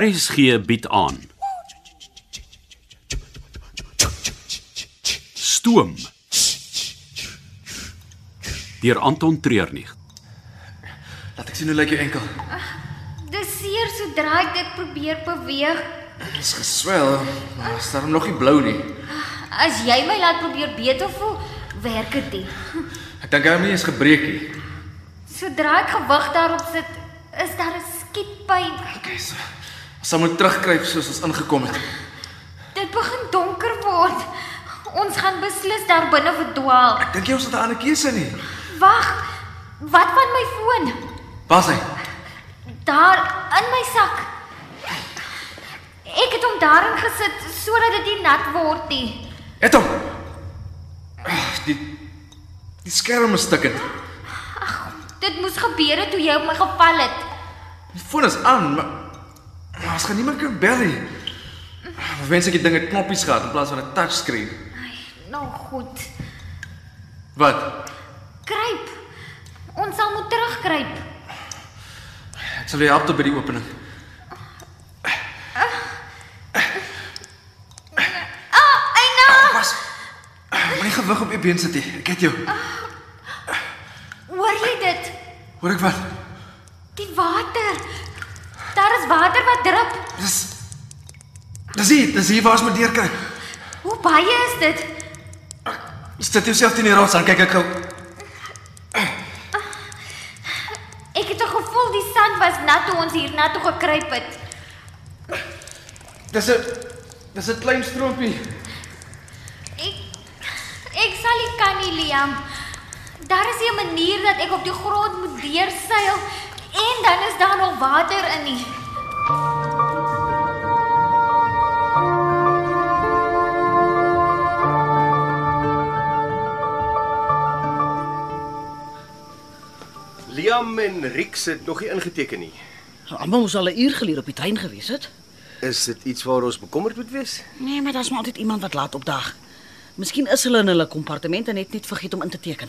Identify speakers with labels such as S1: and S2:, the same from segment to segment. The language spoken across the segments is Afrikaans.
S1: RSG bied aan. Stoom. Deur Anton Treurnig.
S2: Laat ek sien hoe lyk jou enkel.
S3: Dis seer sodra ek dit probeer beweeg.
S2: Dis geswel, maar is daarom nog nie blou nie.
S3: As jy my laat probeer beter voel, werk dit nie.
S2: Ek dink hy hom nie eens gebreek nie.
S3: Sodra ek gewig daarop sit, is daar 'n skietpyn.
S2: Okay, so. Ons sal moet terugkruip soos ons ingekom het.
S3: Dit begin donker word. Ons gaan beslis daar binne verdwaal.
S2: Ek dink jy ons het 'n ander keuse nie.
S3: Wag. Wat van my foon?
S2: Was hy?
S3: Daar in my sak. Ek het hom daarin gesit sodat dit nie nat word nie.
S2: Het hom. Ag, Die die skerm is stukkend.
S3: Dit moes gebeur het toe jy op my geval het.
S2: Die foon is aan, maar maar ons gaan niemand kan bel nie. Ek wens ek die ding het knoppies gehad in plaas van 'n touchscreen.
S3: Ai, nou goed.
S2: Wat?
S3: Kruip. Ons sal moet terugkruip.
S2: Ek sal jou help tot by die opening.
S3: Ah, Eina,
S2: Pas. Ah, Moenie gewig op jou been sit nie. Ek het jou.
S3: hoor jy dit?
S2: Hoor ek wat?
S3: Die water. Daar is water wat drup.
S2: Dis Dis hier, dis hier waar ons moet deurkry.
S3: Hoe baie is dit?
S2: Sit jouself teen die rots en kyk ek gou.
S3: Ek het 'n gevoel die sand was nat toe ons hiernatoe gekruip het.
S2: Dis 'n dis 'n klein stroompie.
S3: Ek ek sal nie kan nie, Liam. Daar is 'n manier dat ek op die grond moet deurseil en dan is daar nog water in nie.
S4: Liam en Rix het nog nie ingeteken nie.
S5: Nou, Almal moes al 'n uur gelede op die trein gewees het.
S4: Is dit iets waar ons bekommerd moet wees?
S5: Nee, maar daar's maar altyd iemand wat laat opdaag. Miskien is hulle in hulle kompartement en net net vergeet om in te teken.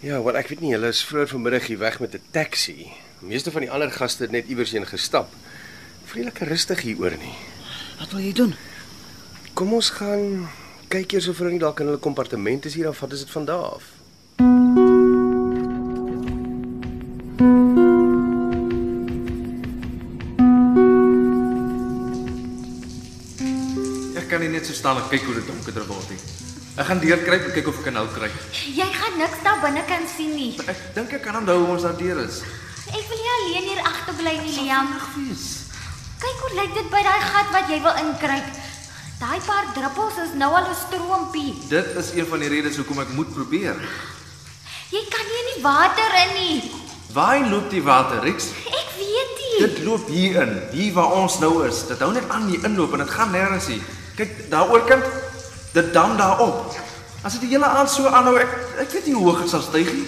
S4: Ja, want ek weet nie, hulle is vroeër vanmiddag hier weg met 'n taxi. Meeste van die ander gaste het net iewersheen gestap. Voel jy lekker rustig hieroor nie?
S5: Wat wil jy doen?
S4: Kom ons gaan kyk eers of hulle nie dalk in hulle kompartement is hier of wat is dit van daar af?
S2: Ek kan nie net so staan en kyk hoe dit donkerder word nie. Ek gaan deurkruip en kyk of ek kan nou kry.
S3: Jy gaan niks daar binne kan sien nie.
S2: Ek dink ek kan onthou hoe ons daar deur is.
S3: Ek wil nie alleen hier agterbly nie, Liam.
S2: Gees.
S3: Kyk hoe lyk dit by daai gat wat jy wil inkruip. Daai paar druppels is nou al 'n stroompie.
S2: Dit is een van die redes hoekom ek moet probeer.
S3: Jy kan nie in die water in nie.
S2: Waarheen loop die water, Rix?
S3: Ek weet nie.
S2: Dit loop hier in, hier waar ons nou is. Dit hou net aan hier inloop en dit gaan nêrens nie. Kyk, daaroor kant dit dam daarop. As dit die hele aand so aanhou, ek ek weet nie hoe hoog dit sal styg nie.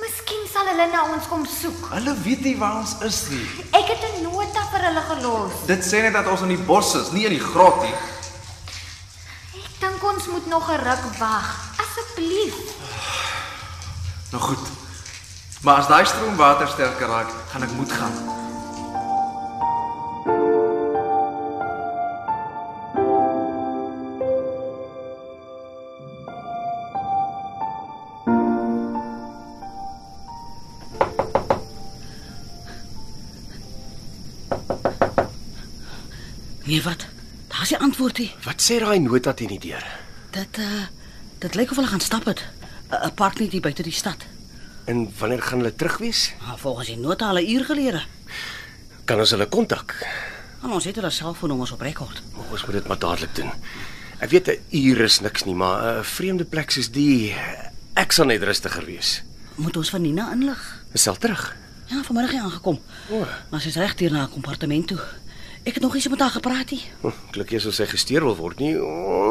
S3: Miskien sal hulle na ons kom soek.
S2: Hulle weet nie waar ons is nie.
S3: Ek het 'n nota vir hulle gelos.
S2: Dit sê net dat ons in die bos is, nie in die grot nie.
S3: Ek dink ons moet nog 'n ruk wag. Asseblief.
S2: Nou goed. Maar as daai stroom water sterker raak, gaan ek moet gaan.
S5: Nee, wat? Daar's die antwoord hier.
S4: Wat sê daai nota teen die deur?
S5: Dit uh dit lyk of hulle gaan stap het. 'n uh, Park net hier buite die stad.
S4: En wanneer gaan hulle terug wees?
S5: Maar volgens die nota al 'n uur gelede.
S4: Kan ons hulle kontak?
S5: En ons het hulle selfoonnommers op rekord.
S4: Maar Ons moet dit maar dadelik doen. Ek weet 'n uur is niks nie, maar 'n vreemde plek soos die, ek sal net rustiger wees.
S5: Moet ons van Nina inlig.
S4: Ons sal terug.
S5: Ja, vanmiddag hier aangekom.
S4: O.
S5: Maar sy's reg hier na haar kompartement toe. Ek het nog eens met haar gepraat hier.
S4: Hm, Klink eers of sy gesteer wil word nie.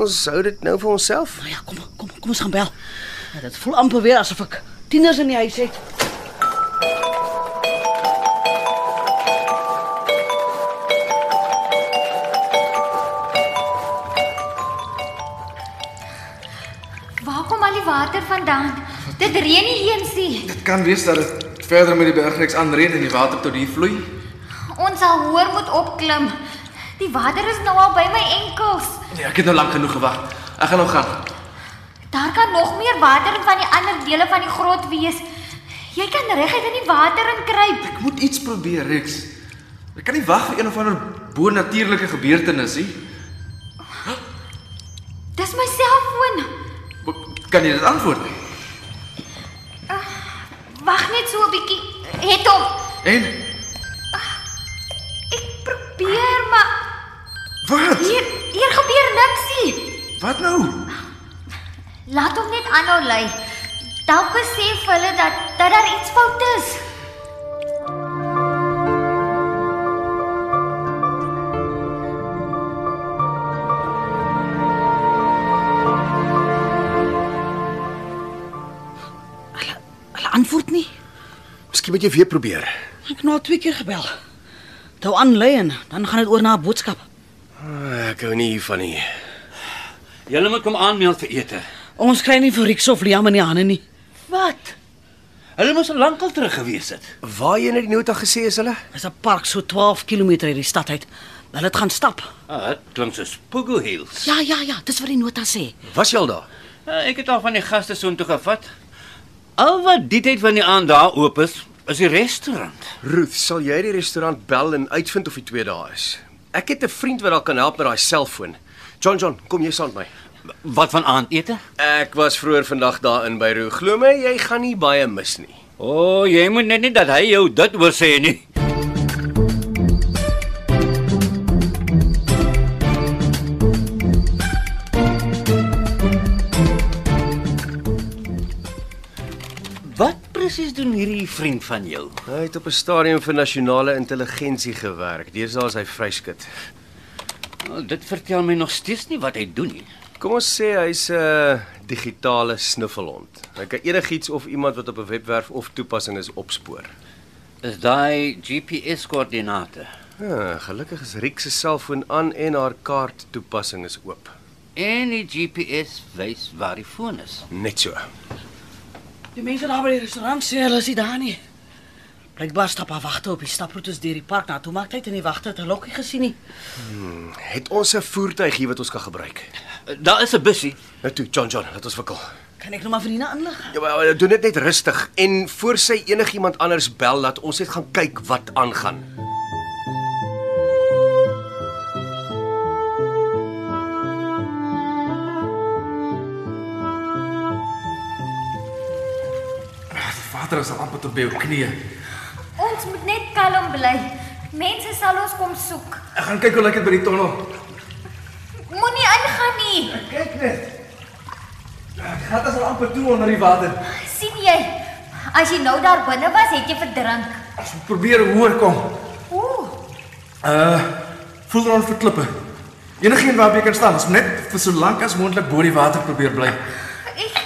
S4: Ons hou dit nou vir onsself.
S5: Nou ja, kom, kom, kom ons gaan bel. Ja, dit voel amper weer asof ek tieners in die huis het.
S3: Waar kom al die water vandaan? Dit reën nie eens nie.
S2: Dit kan wees dat dit verder met die bergreeks aanreën en die water tot hier vloei.
S3: Ons Ons sal hoor moet opklim. Die water is nou al by my enkels.
S2: Nee, ek het nou lank genoeg gewag. Ek gaan nou gaan.
S3: Daar kan nog meer water van die ander dele van die grot wees. Jy kan reguit in die water inkruip.
S2: Ek moet iets probeer, Rex. Ek kan nie wag vir een of ander bonatuurlike gebeurtenis nie.
S3: Dis my selfoon.
S2: Kan jy dit antwoord?
S3: Wag net so 'n bietjie. Het hom.
S2: En
S3: Ek probeer maar
S2: wat?
S3: hier hier gebeur niks nie.
S2: Wat nou?
S3: Laat hom net aanhou lei. Dalk besef hulle dat dat daar iets fout is.
S5: Hulle hulle antwoord nie.
S4: Miskien moet jy weer probeer.
S5: Ek het nou al twee keer gebel. Hou aan lê en dan gaan dit oor na 'n boodskap.
S4: Ah, Ek hou nie hiervan nie.
S6: Julle moet kom aanmeld vir ete.
S5: Ons kry nie vir Rix of Liam in die hande nie.
S6: Wat? Hulle moes al lankal terug gewees het.
S4: Waarheen het die nota gesê is hulle?
S5: Dis 'n park so 12 km uit die stad uit. Hulle het gaan stap.
S6: Ah, dit klink soos Pogo Hills.
S5: Ja, ja, ja, dis wat die nota sê.
S4: Was jy al daar?
S6: Ah, Ek het al van die gaste soontoe gevat. Al wat die tyd van die aand daar oop is, is die restaurant.
S4: Ruth, sal jy die restaurant bel en uitvind of die twee daar is? Ek het 'n vriend wat daar kan help met daai selfoon. John John, kom jy saam met my?
S6: Wat van aandete?
S4: Ek was vroeër vandag daar in Beiroe. Glo my, jy gaan nie baie mis nie.
S6: O, oh, jy moet net nie dat hy jou dit oor sê nie. Wat presies doen hierdie vriend van jou?
S4: Hy het op 'n stadium vir nasionale intelligensie gewerk. Deesdae is hy vryskut.
S6: Oh, dit vertel my nog steeds nie wat hy doen nie.
S4: Kom ons sê hy's 'n digitale snuffelhond. Hy kan enigiets of iemand wat op 'n webwerf of toepassing is opspoor.
S6: Is daai GPS koördinate
S4: Ja, gelukkig is Riek se selfoon aan en haar kaart toepassing is oop.
S6: en die GPS wys waar die foon is.
S4: Net so.
S5: Die mense daar by die restaurant sê hulle is nie daar nie. Blykbaar stap haar wagte op die staproetes deur die park na toe, maar kyk in die wagte het 'n lokkie gesien nie.
S4: Het ons 'n voertuig hier wat ons kan gebruik?
S6: Daar is 'n bussie.
S4: Nou toe, John John, laat ons wikkel.
S5: Kan ek nou maar vir Nina inlig?
S4: Ja, maar maar doen dit net rustig en voor sy enigiemand anders bel, laat ons net gaan kyk wat aangaan.
S2: Water is al amper tot by jou knieë.
S3: Ons moet net kalm bly. Mense sal ons kom soek.
S2: Ek gaan kyk hoe lyk dit by die tonnel.
S3: Moenie ingaan nie.
S2: Ek kyk net. Ja, Ek gaan dit al amper toe onder die water.
S3: sien jy? As jy nou daar binne was, het jy verdrink.
S2: Ek moet probeer hoor kom.
S3: Ooh,
S2: Uh, voel rond vir klippe. Enigeen waarby jy kan staan, ons moet net vir so lank as moontlik bo die water probeer bly.
S3: ek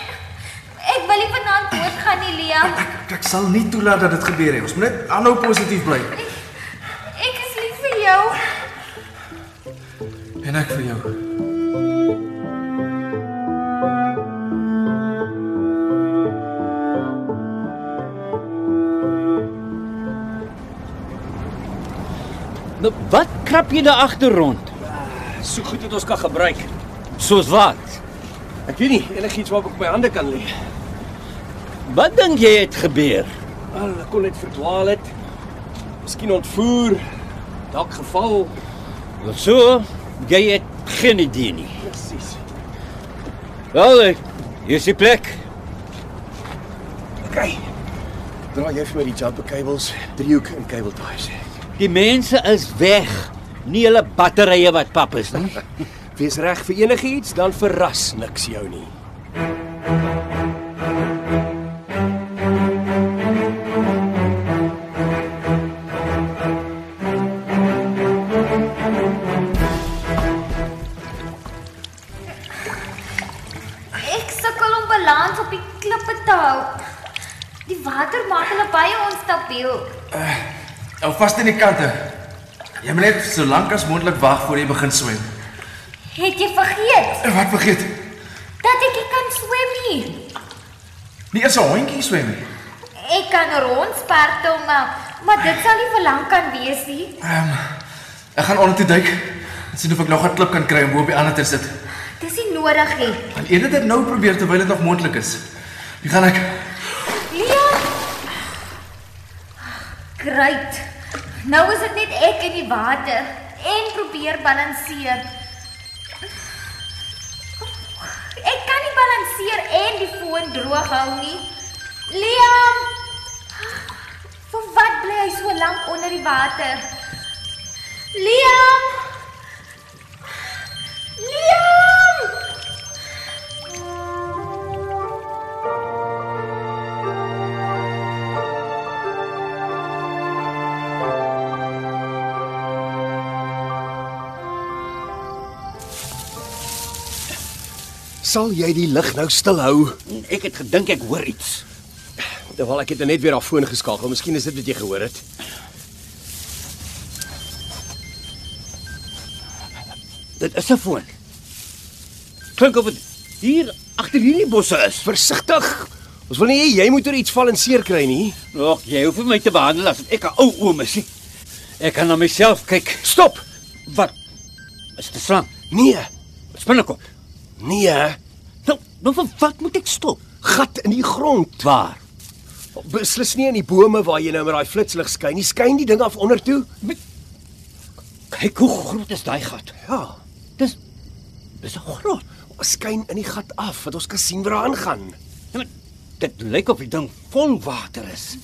S3: ek wil nie vanaand doodgaan nie, Liam.
S2: Ek ek sal nie toelaat dat dit gebeur nie. Ons moet net aanhou positief bly.
S3: Ek is lief vir jou.
S2: En ek vir jou.
S6: Nou, wat krap jy daar agter rond?
S4: So goed dat ons kan gebruik.
S6: Soos wat?
S4: Ek weet nie enigiets waarop ek my hande kan lê.
S6: Wat dink jy het gebeur?
S4: Al ek kon net verdwaal het. Miskien ontvoer, dalk geval.
S6: Wel so, jy het geen idee nie.
S4: Presies.
S6: Wel, eh, hier is die plek.
S4: OK. Dra jy vir my die jumper kabels, driehoek en kabel ties.
S6: Die mense is weg. Nie hulle batterye wat pap is nie.
S4: Wees reg vir enigiets, dan verras niks jou nie.
S3: Ek sukkel om balans op die klippe te hou. Die water maak hulle baie onstabiel.
S2: Hou vas teen die kante. Jy moet net so lank as moontlik wag voor jy begin swem.
S3: Het jy vergeet
S2: En wat vergeet?
S3: dat ek nie kan swem nie?
S2: Nie eers 'n hondjie swem nie.
S3: Ek kan rondspartel maak, maar dit sal nie vir lank kan wees nie.
S2: Ehm ek gaan onder toe duik. Sien of ek nog 'n klip kan kry om bo op die ander te sit.
S3: Dis nie nodig nie.
S2: En eerder dit nou probeer terwyl dit nog moontlik is. Dan gaan ek
S3: Leon! Great. Nou is dit net ek in die water en probeer balanseer. Ek kan nie balanseer en die foon droog hou nie. Leon! Vir wat bly hy so lank onder die water? Leon! Leon!
S4: Sal jy die lig nou stilhou?
S5: Ek het gedink ek hoor iets.
S4: Terwyl ek dit net weer af foon geskakel. Miskien is dit wat jy gehoor het.
S5: Dit is 'n foon. Klink of dit hier agter hierdie bosse is.
S4: Versigtig. Ons wil nie hê jy moet oor iets val en seer kry nie.
S5: Nog, jy hoef nie my te behandel asof ek 'n ou oom is nie. Ek kan na myself kyk.
S4: Stop.
S5: Wat? Is dit 'n slang?
S4: Nee.
S5: Spinnekop.
S4: Nee.
S5: Nou, nou vir wat moet ek stop?
S4: Gat in die grond.
S5: Waar?
S4: Beslis nie in die bome waar jy nou met daai flitslig skyn nie. Skyn die ding af onder toe?
S5: Kyk hoe groot is daai gat.
S4: Ja.
S5: Dis dis 'n grot.
S4: Skyn in die gat af dat ons kan sien waar aan gaan.
S5: Ja, maar Dit lyk of die ding vol water is.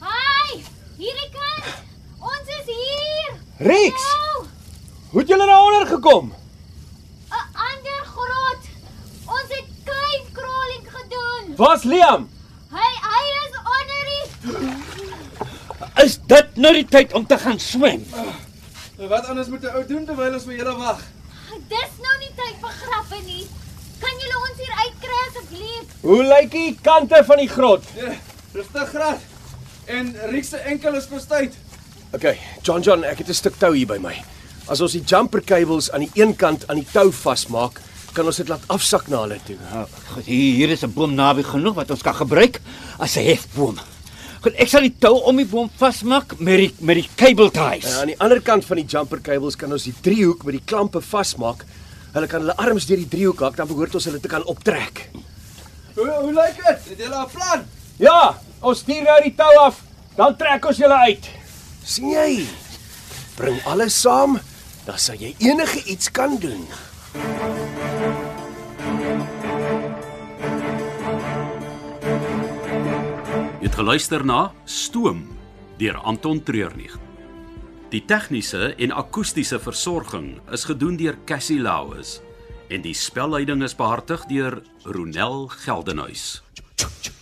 S3: Hi! Hier ek kom. Ons is hier.
S4: Rex,
S3: Au!
S4: hoe het julle daaronder gekom?
S3: 'n Ander grot. Ons het cave crawling gedoen.
S4: Waar's Liam?
S3: Hy hy is onder die
S5: Is dit nou die tyd om te gaan swem?
S2: Wat anders moet 'n ou doen terwyl ons vir julle wag?
S3: Dis nou nie tyd vir grappe nie. Kan julle ons hier uitkry asseblief?
S4: Hoe lyk die kante van die grot?
S2: Rustig graag. En Riek se enkel is verstuit.
S4: Okay, John John, ek het 'n stuk tou hier by my. As ons die jumper kabels aan die een kant aan die tou vasmaak, kan ons dit laat afsak na hulle toe.
S6: Ah,
S5: Nou, Goed, hier, hier is 'n boom naby genoeg wat ons kan gebruik as 'n hefboom. Goed, ek sal die tou om die boom vasmaak met die met die cable
S4: En
S5: ties.
S4: aan die ander kant van die jumper kabels kan ons die driehoek met die klampe vasmaak. Hulle kan hulle arms deur die driehoek hak, dan behoort ons hulle te kan optrek.
S2: Hoe hoe lyk dit? Het julle 'n plan?
S4: Ja, ons stuur nou die tou af, dan trek ons julle uit. sien jy? Bring alles saam, dan sal jy enige iets kan doen.
S1: Jy het geluister na Stoom deur Anton Treurnig. Die tegniese en akoestiese versorging is gedoen deur Cassie Lauis en die spelleiding is behartig deur Ronel Geldenhuys.
S4: Tjoe, tjoe.